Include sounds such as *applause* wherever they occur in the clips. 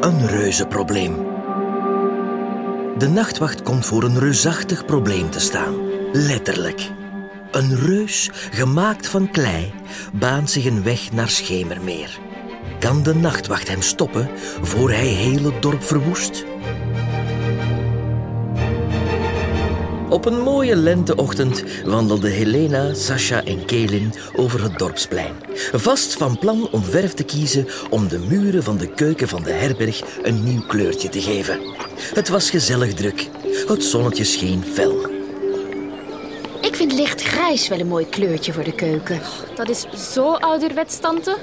Een reuzenprobleem. De nachtwacht komt voor een reusachtig probleem te staan. Letterlijk. Een reus, gemaakt van klei, baant zich een weg naar Schemermeer. Kan de nachtwacht hem stoppen voor hij heel het dorp verwoest? Op een mooie lenteochtend wandelden Helena, Sasha en Kelin over het dorpsplein. Vast van plan om verf te kiezen om de muren van de keuken van de herberg een nieuw kleurtje te geven. Het was gezellig druk. Het zonnetje scheen fel. Ik vind lichtgrijs wel een mooi kleurtje voor de keuken. Dat is zo ouderwets, tante.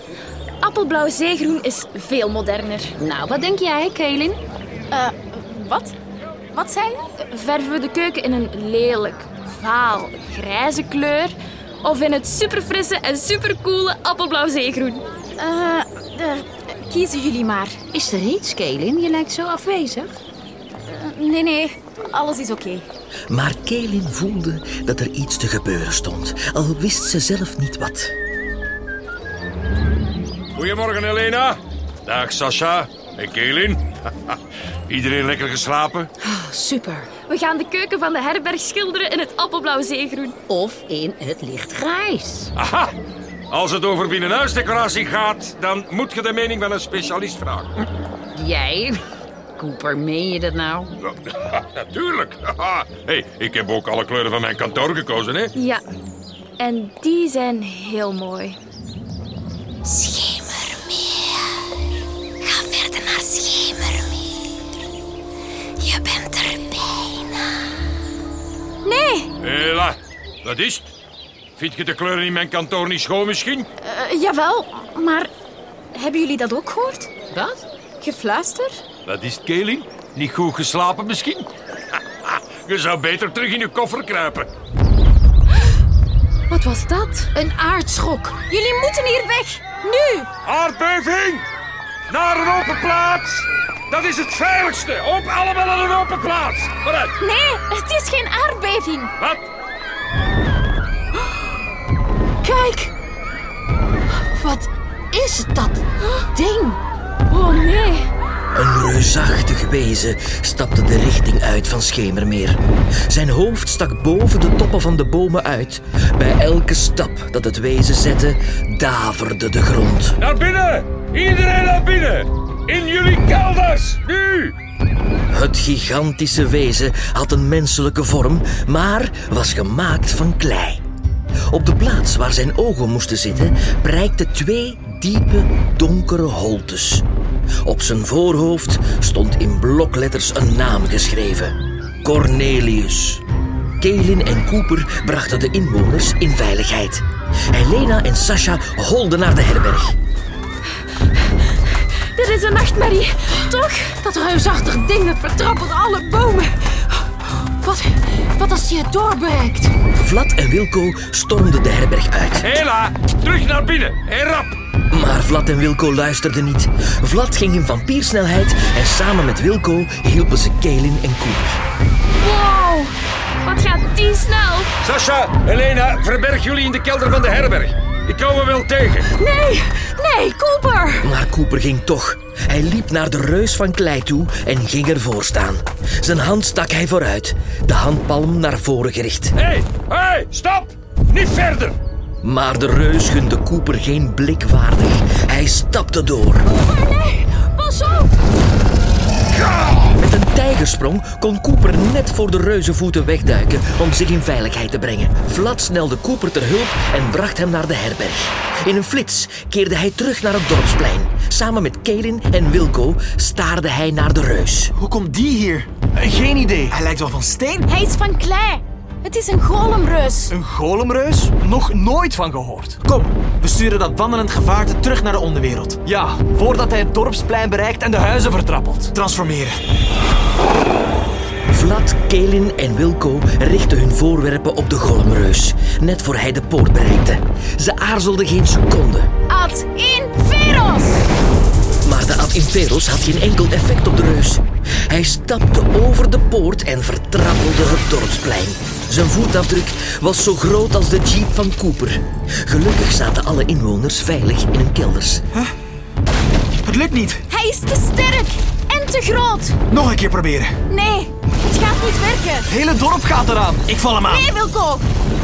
Appelblauw zeegroen is veel moderner. Nou, wat denk jij, Kaelin? Eh, wat? Wat zei je? Verven we de keuken in een lelijk, vaal, grijze kleur... of in het superfrisse en supercoole appelblauw zeegroen? Eh, eh, kiezen jullie maar. Is er iets, Kaelin? Je lijkt zo afwezig. Nee, nee, alles is oké. Maar Kelin voelde dat er iets te gebeuren stond, al wist ze zelf niet wat. Goedemorgen, Helena. Dag, Sasha. En Kelin. *laughs* Iedereen lekker geslapen? Ah, Super. We gaan de keuken van de herberg schilderen in het appelblauw zeegroen. Of in het lichtgrijs. Aha! Als het over binnenhuisdecoratie gaat, dan moet je de mening van een specialist vragen. Jij? Cooper, meen je dat nou? Natuurlijk. hey, ik heb ook alle kleuren van mijn kantoor gekozen, hè? Ja, en die zijn heel mooi. Ga verder naar Schemermeer. Je bent er bijna. Hela, dat is het. Vind je de kleuren in mijn kantoor niet schoon misschien? Eh, jawel, maar hebben jullie dat ook gehoord? Wat? Gefluister? Dat is het, Kelin. Niet goed geslapen misschien? *laughs* je zou beter terug in je koffer kruipen. Wat was dat? Een aardschok. Jullie moeten hier weg. Nu. Aardbeving! Naar een open plaats! Dat is het veiligste! Op allemaal naar een open plaats! Vooruit! Nee, het is geen aardbeving. Wat? Kijk. Wat is dat ding? Oh nee. Een reusachtig wezen stapte de richting uit van Schemermeer. Zijn hoofd stak boven de toppen van de bomen uit. Bij elke stap dat het wezen zette, daverde de grond. Naar binnen! Iedereen naar binnen! In jullie kelders! Nu! Het gigantische wezen had een menselijke vorm, maar was gemaakt van klei. Op de plaats waar zijn ogen moesten zitten, prijkten twee diepe, donkere holtes. Op zijn voorhoofd stond in blokletters een naam geschreven: Cornelius. Kelin en Cooper brachten de inwoners in veiligheid. Helena en Sasha holden naar de herberg. Dit is een nachtmerrie, toch? Dat reusachtig ding dat vertrappelt alle bomen. Wat, wat als die het doorbereikt? Vlad en Wilco stormden de herberg uit. Hela! Terug naar binnen! En rap! Maar Vlad en Wilco luisterden niet. Vlad ging in vampiersnelheid en samen met Wilco hielpen ze Kaelin en Cooper. Wow. Wat gaat die snel? Sasha, Helena, verberg jullie in de kelder van de herberg. Ik kom er wel tegen. Nee, nee, Cooper. Maar Cooper ging toch. Hij liep naar de reus van klei toe en ging ervoor staan. Zijn hand stak hij vooruit, de handpalm naar voren gericht. Hé, hey, hé, hey, stop! Niet verder! Maar de reus gunde Cooper geen blik waardig. Hij stapte door. Pas op. Met een tijgersprong kon Cooper net voor de reuzenvoeten wegduiken om zich in veiligheid te brengen. Vlad snelde Cooper ter hulp en bracht hem naar de herberg. In een flits keerde hij terug naar het dorpsplein. Samen met Kelin en Wilco staarde hij naar de reus. Hoe komt die hier? Geen idee. Hij lijkt wel van steen. Hij is van klei. Het is een golemreus. Een golemreus? Nog nooit van gehoord. Kom, we sturen dat wandelend gevaarte terug naar de onderwereld. Ja, voordat hij het dorpsplein bereikt en de huizen vertrappelt. Transformeren. Vlad, Kelin en Wilco richtten hun voorwerpen op de golmreus, net voor hij de poort bereikte. Ze aarzelden geen seconde. Ad in veros. Maar de Ad Imperos had geen enkel effect op de reus. Hij stapte over de poort en vertrappelde het dorpsplein. Zijn voetafdruk was zo groot als de jeep van Cooper. Gelukkig zaten alle inwoners veilig in hun kelders. Er Het lukt niet. Hij is te sterk en te groot. Nog een keer proberen. Nee, het gaat niet werken. Het hele dorp gaat eraan. Ik val hem aan. Nee, Wilco.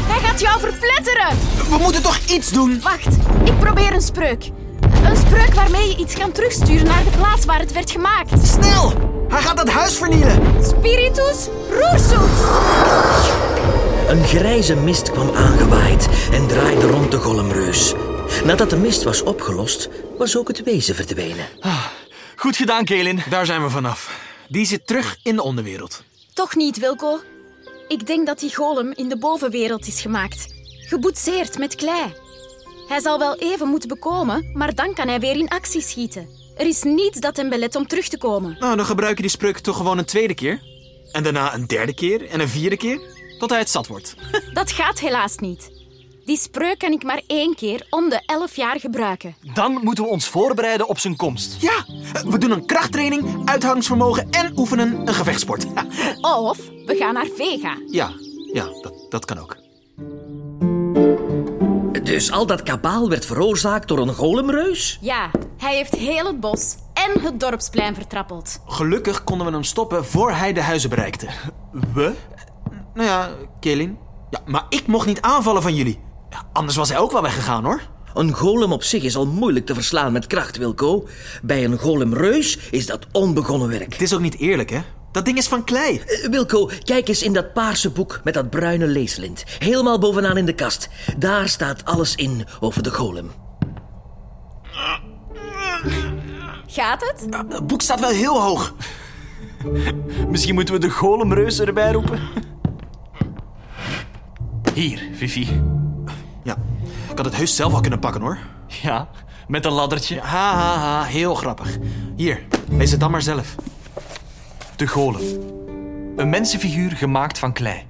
Hij gaat jou verpletteren. We moeten toch iets doen? Wacht, ik probeer een spreuk. Een spreuk waarmee je iets kan terugsturen naar de plaats waar het werd gemaakt. Snel! Hij gaat dat huis vernielen. Spiritus Roersoes. Een grijze mist kwam aangewaaid en draaide rond de golemreus. Nadat de mist was opgelost, was ook het wezen verdwenen. Goed gedaan, Kaelin. Daar zijn we vanaf. Die zit terug in de onderwereld. Toch niet, Wilco. Ik denk dat die golem in de bovenwereld is gemaakt. Geboetseerd met klei. Hij zal wel even moeten bekomen, maar dan kan hij weer in actie schieten. Er is niets dat hem belet om terug te komen. Nou, dan gebruik je die spreuk toch gewoon een tweede keer. En daarna een derde keer en een vierde keer. Tot hij het zat wordt. Dat gaat helaas niet. Die spreuk kan ik maar één keer om de elf jaar gebruiken. Dan moeten we ons voorbereiden op zijn komst. Ja, we doen een krachttraining, uithoudingsvermogen en oefenen een gevechtsport. Of we gaan naar Vega. Ja, ja, dat, dat kan ook. Dus al dat kabaal werd veroorzaakt door een golemreus? Ja, hij heeft heel het bos en het dorpsplein vertrappeld. Gelukkig konden we hem stoppen voor hij de huizen bereikte. We? Nou ja, Kaelin. Ja, maar ik mocht niet aanvallen van jullie. Ja, anders was hij ook wel weggegaan hoor. Een golem op zich is al moeilijk te verslaan met kracht, Wilco. Bij een golemreus is dat onbegonnen werk. Het is ook niet eerlijk hè. Dat ding is van klei. Eh, Wilco, kijk eens in dat paarse boek met dat bruine leeslint. Helemaal bovenaan in de kast. Daar staat alles in over de golem. Gaat het? Het boek staat wel heel hoog. Misschien moeten we de golemreus erbij roepen. Hier, Vivi. Ja, ik had het heus zelf al kunnen pakken hoor. Ja, met een laddertje. Ha ha ha, heel grappig. Hier, lees het dan maar zelf. De golem. Een mensenfiguur gemaakt van klei.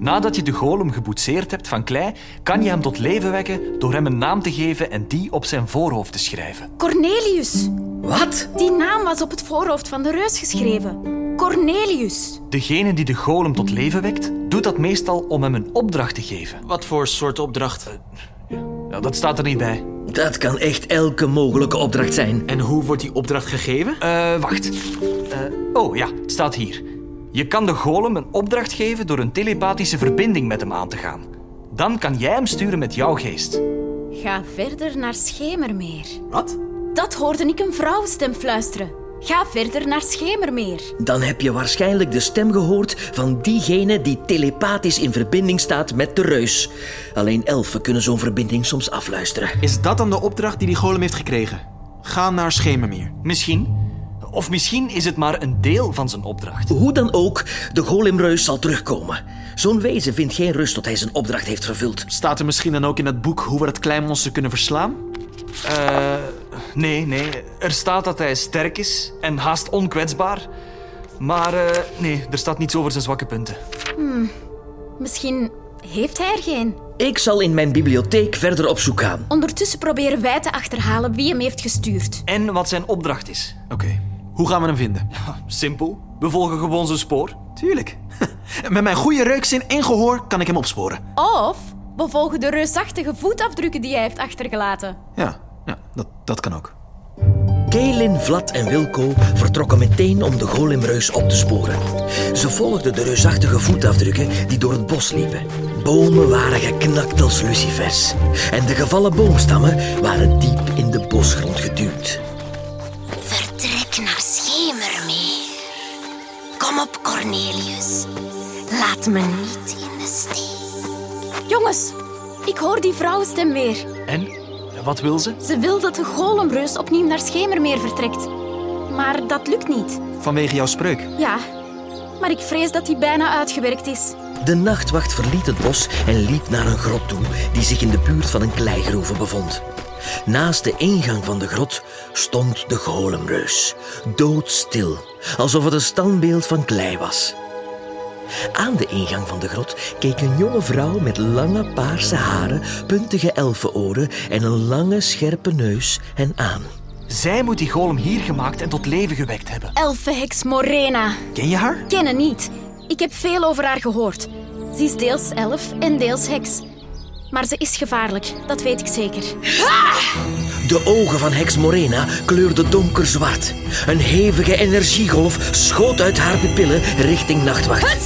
Nadat je de golem geboetseerd hebt van klei, kan je hem tot leven wekken door hem een naam te geven en die op zijn voorhoofd te schrijven. Cornelius. Wat? Die naam was op het voorhoofd van de reus geschreven. Cornelius. Degene die de golem tot leven wekt, doet dat meestal om hem een opdracht te geven. Wat voor soort opdracht? Ja, dat staat er niet bij. Dat kan echt elke mogelijke opdracht zijn. En hoe wordt die opdracht gegeven? Eh, wacht. Eh, oh ja, het staat hier. Je kan de golem een opdracht geven door een telepathische verbinding met hem aan te gaan. Dan kan jij hem sturen met jouw geest. Ga verder naar Schemermeer. Wat? Dat hoorde ik een vrouwenstem fluisteren. Ga verder naar Schemermeer. Dan heb je waarschijnlijk de stem gehoord van diegene die telepathisch in verbinding staat met de reus. Alleen elfen kunnen zo'n verbinding soms afluisteren. Is dat dan de opdracht die die golem heeft gekregen? Ga naar Schemermeer. Misschien. Of misschien is het maar een deel van zijn opdracht. Hoe dan ook, de golemreus zal terugkomen. Zo'n wezen vindt geen rust tot hij zijn opdracht heeft vervuld. Staat er misschien dan ook in dat boek hoe we dat kleinmonster kunnen verslaan? Nee, nee. Er staat dat hij sterk is en haast onkwetsbaar. Maar eh, nee, er staat niets over zijn zwakke punten. Misschien heeft hij er geen. Ik zal in mijn bibliotheek verder op zoek gaan. Ondertussen proberen wij te achterhalen wie hem heeft gestuurd. En wat zijn opdracht is. Oké. Hoe gaan we hem vinden? Simpel. We volgen gewoon zijn spoor. Tuurlijk. *laughs* Met mijn goede reukzin en gehoor kan ik hem opsporen. Of we volgen de reusachtige voetafdrukken die hij heeft achtergelaten. Ja, ja dat, dat kan ook. Kaelin, Vlad en Wilco vertrokken meteen om de golemreus op te sporen. Ze volgden de reusachtige voetafdrukken die door het bos liepen. Bomen waren geknakt als lucifers. En de gevallen boomstammen waren diep in de bosgrond geduwd. Vertrek naar Schemermeer. Kom op, Cornelius. Laat me niet in de steek. Jongens, ik hoor die vrouwenstem weer. En? Wat wil ze? Ze wil dat de golemreus opnieuw naar Schemermeer vertrekt. Maar dat lukt niet. Vanwege jouw spreuk. Ja, maar ik vrees dat hij bijna uitgewerkt is. De nachtwacht verliet het bos en liep naar een grot toe die zich in de buurt van een kleigroeve bevond. Naast de ingang van de grot stond de golemreus, doodstil, alsof het een standbeeld van klei was. Aan de ingang van de grot keek een jonge vrouw met lange paarse haren, puntige elfenoren en een lange scherpe neus hen aan. Zij moet die golem hier gemaakt en tot leven gewekt hebben. Elfenheks Morena. Ken je haar? Kennen niet. Ik heb veel over haar gehoord. Ze is deels elf en deels heks. Maar ze is gevaarlijk, dat weet ik zeker. De ogen van Hex Morena kleurden donkerzwart. Een hevige energiegolf schoot uit haar pupillen richting Nachtwacht.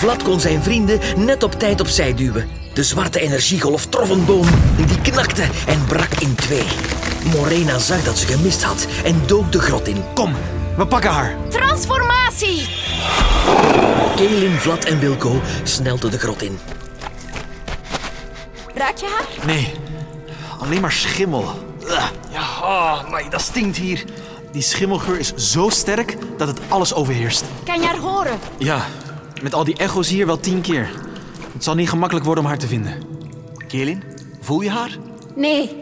Vlad kon zijn vrienden net op tijd opzij duwen. De zwarte energiegolf trof een boom, die knakte en brak in twee. Morena zag dat ze gemist had en dook de grot in. Kom, we pakken haar. Transformatie! Kaelin, Vlad en Wilco snelden de grot in. Raak je haar? Nee, alleen maar schimmel. Ugh. Ja, oh, amai, dat stinkt hier. Die schimmelgeur is zo sterk dat het alles overheerst. Kan je haar horen? Ja, met al die echo's hier wel tien keer. Het zal niet gemakkelijk worden om haar te vinden. Kelin, voel je haar? Nee,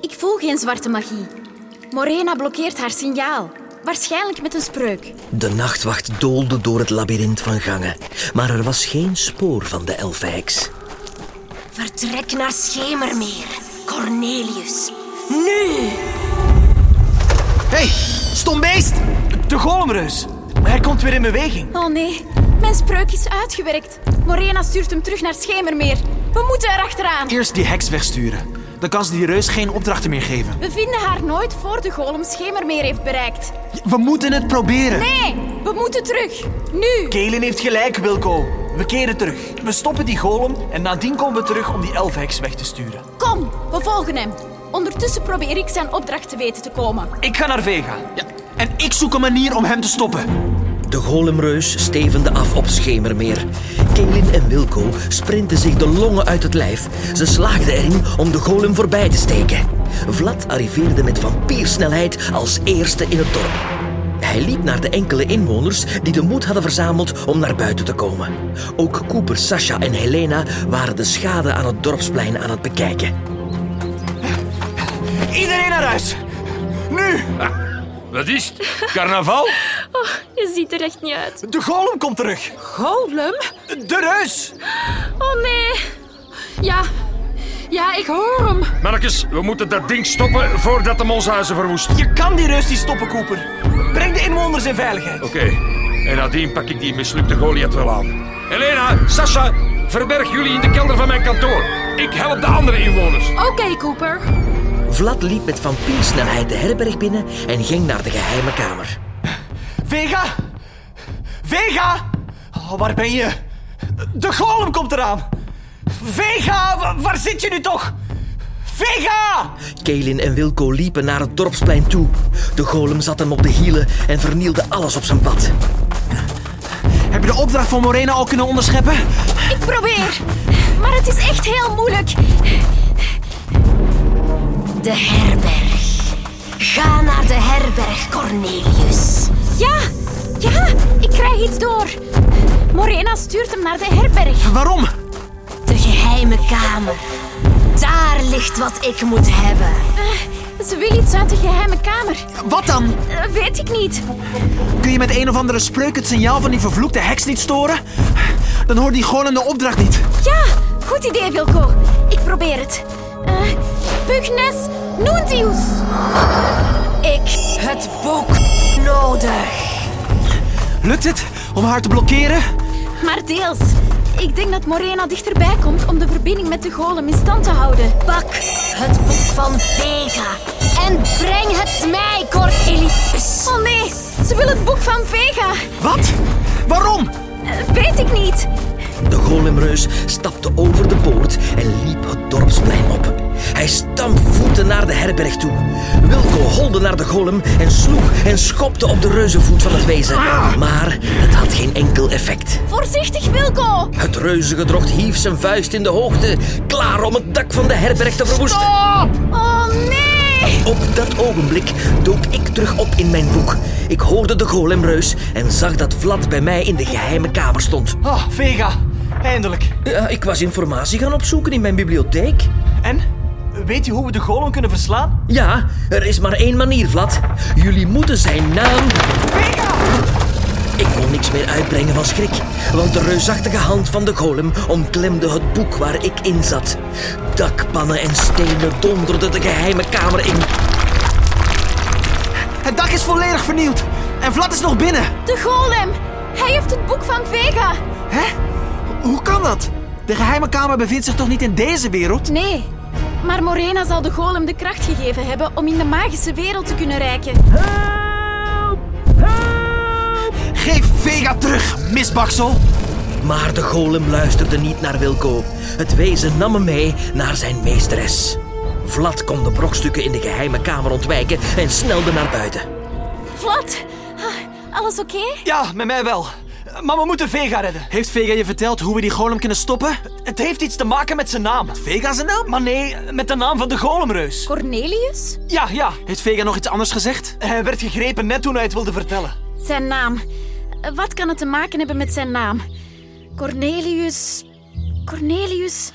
ik voel geen zwarte magie. Morena blokkeert haar signaal. Waarschijnlijk met een spreuk. De nachtwacht doolde door het labyrint van gangen, maar er was geen spoor van de elfenheks. Vertrek naar Schemermeer, Cornelius. Nu! Hé, hey, stom beest! De golemreus. Hij komt weer in beweging. Oh nee, mijn spreuk is uitgewerkt. Morena stuurt hem terug naar Schemermeer. We moeten erachteraan. Eerst die heks wegsturen. Dan kan ze die reus geen opdrachten meer geven. We vinden haar nooit voor de golem Schemermeer heeft bereikt. We moeten het proberen. Nee, we moeten terug. Nu! Kelen heeft gelijk, Wilco. We keren terug. We stoppen die golem en nadien komen we terug om die elfheks weg te sturen. Kom, we volgen hem. Ondertussen probeer ik zijn opdracht te weten te komen. Ik ga naar Vega. Ja, en ik zoek een manier om hem te stoppen. De golemreus stevende af op Schemermeer. Kaelin en Wilco sprinten zich de longen uit het lijf. Ze slaagden erin om de golem voorbij te steken. Vlad arriveerde met vampiersnelheid als eerste in het dorp. Hij liep naar de enkele inwoners die de moed hadden verzameld om naar buiten te komen. Ook Cooper, Sasha en Helena waren de schade aan het dorpsplein aan het bekijken. Iedereen naar huis. Nu! Wat is het? Carnaval? Je ziet er echt niet uit. De golem komt terug. Golem? De reus. Oh nee. Ja, ja, ik hoor hem. Mannekes, we moeten dat ding stoppen voordat hem ons huizen verwoest. Oké, Je kan die reus niet stoppen, Cooper. Breng de inwoners in veiligheid. en nadien pak ik die mislukte Goliath wel aan. Helena, Sasha, verberg jullie in de kelder van mijn kantoor. Ik help de andere inwoners. Oké, Cooper. Vlad liep met vampiersnelheid de herberg binnen en ging naar de geheime kamer. Vega! Vega! Oh, waar ben je? De golem komt eraan. Vega, wa- waar zit je nu toch? Vega! Kaelin en Wilco liepen naar het dorpsplein toe. De golem zat hem op de hielen en vernielde alles op zijn pad. Heb je de opdracht van Morena al kunnen onderscheppen? Ik probeer, maar het is echt heel moeilijk. De herberg. Ga naar de herberg, Cornelius. Ja, ja, ik krijg iets door. Morena stuurt hem naar de herberg. Oh. Waarom? De geheime kamer. Daar ligt wat ik moet hebben. Eh, Ze wil iets uit de geheime kamer. Wat dan? Eh, weet ik niet. Kun je met een of andere spreuk het signaal van die vervloekte heks niet storen? Dan hoort die golem de opdracht niet. Ja, goed idee, Wilco. Ik probeer het. Eh Pugnes Nuntius. Ik het boek nodig. Lukt het om haar te blokkeren? Maar deels. Ik denk dat Morena dichterbij komt om de verbinding met de golem in stand te houden. Pak het boek van Vega en breng het mij, Cornelius. Oh nee, ze wil het boek van Vega. Wat? Waarom? Eh, weet ik niet. De golemreus stapte over de poort en liep het dorpsplein op. Hij stampvoette naar de herberg toe. Wilco holde naar de golem en sloeg en schopte op de reuzenvoet van het wezen. Maar het had geen enkel effect. Voorzichtig, Wilco. Het reuzengedrocht hief zijn vuist in de hoogte, klaar om het dak van de herberg te verwoesten. Oh nee. Op dat ogenblik dook ik terug op in mijn boek. Ik hoorde de golemreus en zag dat Vlad bij mij in de geheime kamer stond. Oh, Vega. Eindelijk. Ja, ik was informatie gaan opzoeken in mijn bibliotheek. En? Weet je hoe we de golem kunnen verslaan? Ja, er is maar één manier, Vlad. Jullie moeten zijn naam... Ik kon niks meer uitbrengen van schrik, want de reusachtige hand van de golem omklemde het boek waar ik in zat. Dakpannen en stenen donderden de geheime kamer in. Het dak is volledig vernield. En Vlad is nog binnen. De golem. Hij heeft het boek van Vega. Hè? Hoe kan dat? De geheime kamer bevindt zich toch niet in deze wereld? Nee, maar Morena zal de golem de kracht gegeven hebben om in de magische wereld te kunnen reiken. Geef Vega terug, misbaksel! Maar de golem luisterde niet naar Wilco. Het wezen nam hem mee naar zijn meesteres. Vlad kon de brokstukken in de geheime kamer ontwijken en snelde naar buiten. Vlad, ah, alles oké? Ja, met mij wel. Maar we moeten Vega redden. Heeft Vega je verteld hoe we die golem kunnen stoppen? Het heeft iets te maken met zijn naam. Vega zijn naam? Maar nee, met de naam van de golemreus. Cornelius? Ja, ja. Heeft Vega nog iets anders gezegd? Hij werd gegrepen net toen hij het wilde vertellen. Zijn naam. Wat kan het te maken hebben met zijn naam? Cornelius. Cornelius.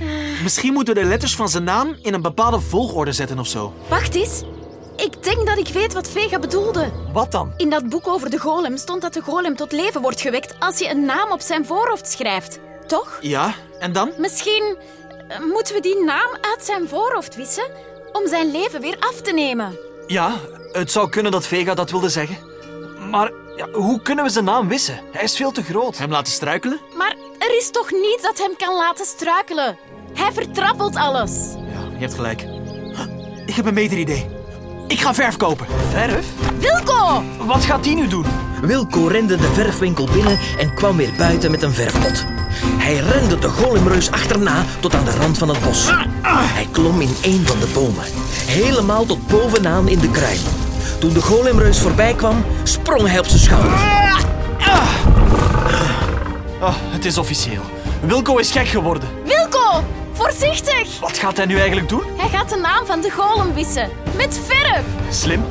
Eh. Misschien moeten we de letters van zijn naam in een bepaalde volgorde zetten of zo. Wacht eens. Ik denk dat ik weet wat Vega bedoelde. Wat dan? In dat boek over de golem stond dat de golem tot leven wordt gewekt als je een naam op zijn voorhoofd schrijft. Toch? Ja, en dan? Misschien eh, moeten we die naam uit zijn voorhoofd wissen om zijn leven weer af te nemen. Ja, het zou kunnen dat Vega dat wilde zeggen. Maar ja, hoe kunnen we zijn naam wissen? Hij is veel te groot. Hem laten struikelen? Maar er is toch niets dat hem kan laten struikelen? Hij vertrappelt alles. Ja, je hebt gelijk. Ik heb een beter idee. Ik ga verf kopen. Verf? Wilco! Wat gaat die nu doen? Wilco rende de verfwinkel binnen en kwam weer buiten met een verfpot. Hij rende de golemreus achterna tot aan de rand van het bos. Hij klom in een van de bomen, helemaal tot bovenaan in de kruin. Toen de golemreus voorbij kwam, sprong hij op zijn schouder. Ah, het is officieel. Wilco is gek geworden. Wilco! Voorzichtig! Wat gaat hij nu eigenlijk doen? Hij gaat de naam van de golem wissen. Met verf! Slim,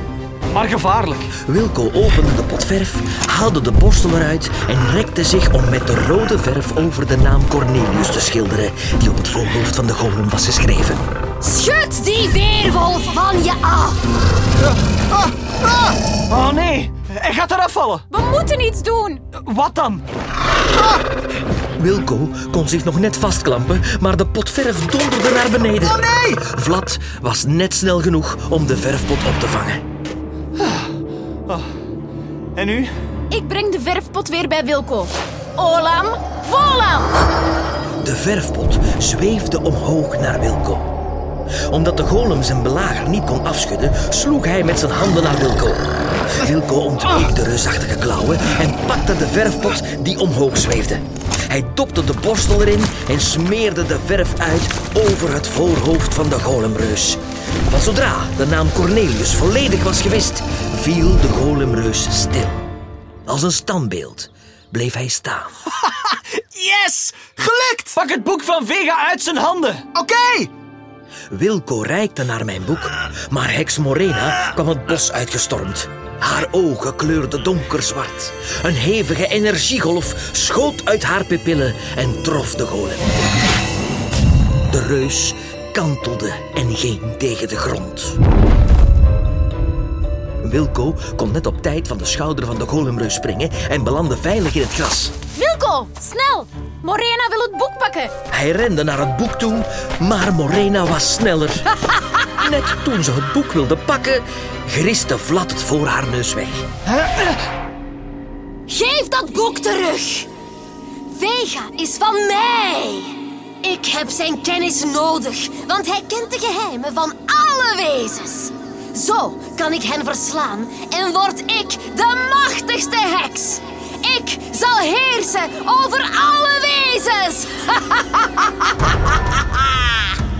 maar gevaarlijk. Wilco opende de pot verf, haalde de borstel eruit en rekte zich om met de rode verf over de naam Cornelius te schilderen, die op het voorhoofd van de golem was geschreven. Schud die weerwolf van je af. Oh nee, hij gaat eraf vallen. We moeten iets doen! Wat dan? Wilco kon zich nog net vastklampen, maar de pot verf donderde naar beneden. Oh nee! Vlad was net snel genoeg om de verfpot op te vangen. En nu? Ik breng de verfpot weer bij Wilco. Olam, volam! De verfpot zweefde omhoog naar Wilco. Omdat de golem zijn belager niet kon afschudden, sloeg hij met zijn handen naar Wilco. Wilco ontweek de reusachtige klauwen en pakte de verfpot die omhoog zweefde. Hij dopte de borstel erin en smeerde de verf uit over het voorhoofd van de golemreus. Van zodra de naam Cornelius volledig was gewist, viel de golemreus stil. Als een standbeeld bleef hij staan. Yes! Gelukt! Pak het boek van Vega uit zijn handen. Oké! Wilco reikte naar mijn boek, maar Heks Morena kwam het bos uitgestormd. Haar ogen kleurden donkerzwart. Een hevige energiegolf schoot uit haar pupillen en trof de golem. De reus kantelde en ging tegen de grond. Wilco kon net op tijd van de schouder van de golemreus springen en belandde veilig in het gras. Wilco, snel! Morena wil het boek pakken. Hij rende naar het boek toe, maar Morena was sneller. Net toen ze het boek wilde pakken, griste Vlad het voor haar neus weg. Geef dat boek terug. Vega is van mij. Ik heb zijn kennis nodig, want hij kent de geheimen van alle wezens. Zo kan ik hen verslaan en word ik de machtigste heks. Ik zal heersen over alle wezens.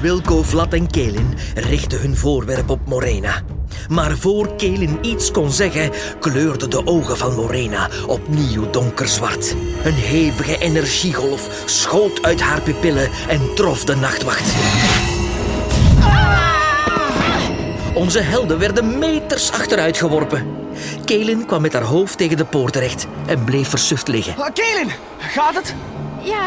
Wilco, Vlad en Kelin richtten hun voorwerp op Morena. Maar voor Kelin iets kon zeggen, kleurden de ogen van Morena opnieuw donkerzwart. Een hevige energiegolf schoot uit haar pupillen en trof de nachtwacht. Onze helden werden meters achteruit geworpen. Kelin kwam met haar hoofd tegen de poort terecht en bleef versuft liggen. Ah, Kaelin, gaat het? Ja,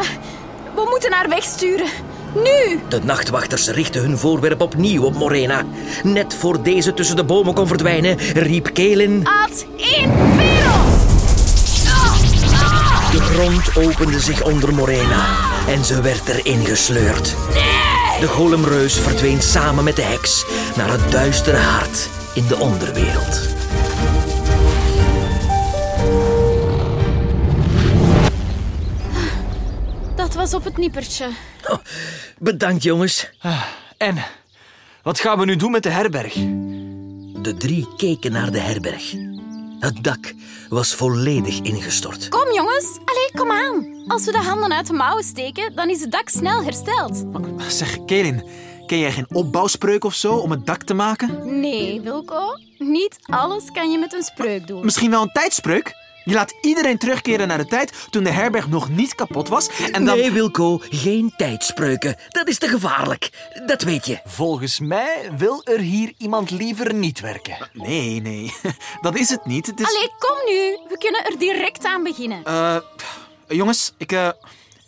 we moeten haar wegsturen. Nu! De nachtwachters richtten hun voorwerp opnieuw op Morena. Net voor deze tussen de bomen kon verdwijnen, riep Kelin... Ad infero! De grond opende zich onder Morena en ze werd erin gesleurd. De golemreus verdween samen met de heks naar het duistere hart in de onderwereld. was op het nippertje. Bedankt, jongens. En, wat gaan we nu doen met de herberg? De drie keken naar de herberg. Het dak was volledig ingestort. Kom jongens, allee, kom aan. Als we de handen uit de mouwen steken, dan is het dak snel hersteld. Zeg, Kelin, ken jij geen opbouwspreuk of zo om het dak te maken? Nee, Wilco, niet alles kan je met een spreuk doen. Misschien wel een tijdspreuk? Je laat iedereen terugkeren naar de tijd toen de herberg nog niet kapot was en dan... Nee, Wilco, geen tijdspreuken. Dat is te gevaarlijk. Dat weet je. Volgens mij wil er hier iemand liever niet werken. nee, nee. *laughs* dat is het niet. Het is... Allee, kom nu, we kunnen er direct aan beginnen. Eh, jongens, ik, eh,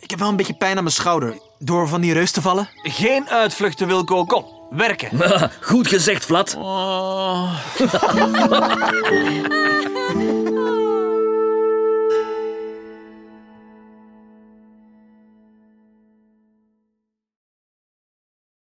ik heb wel een beetje pijn aan mijn schouder. Door van die reus te vallen. Geen uitvluchten, Wilco. Kom, werken. Goed gezegd, Vlad. Oh.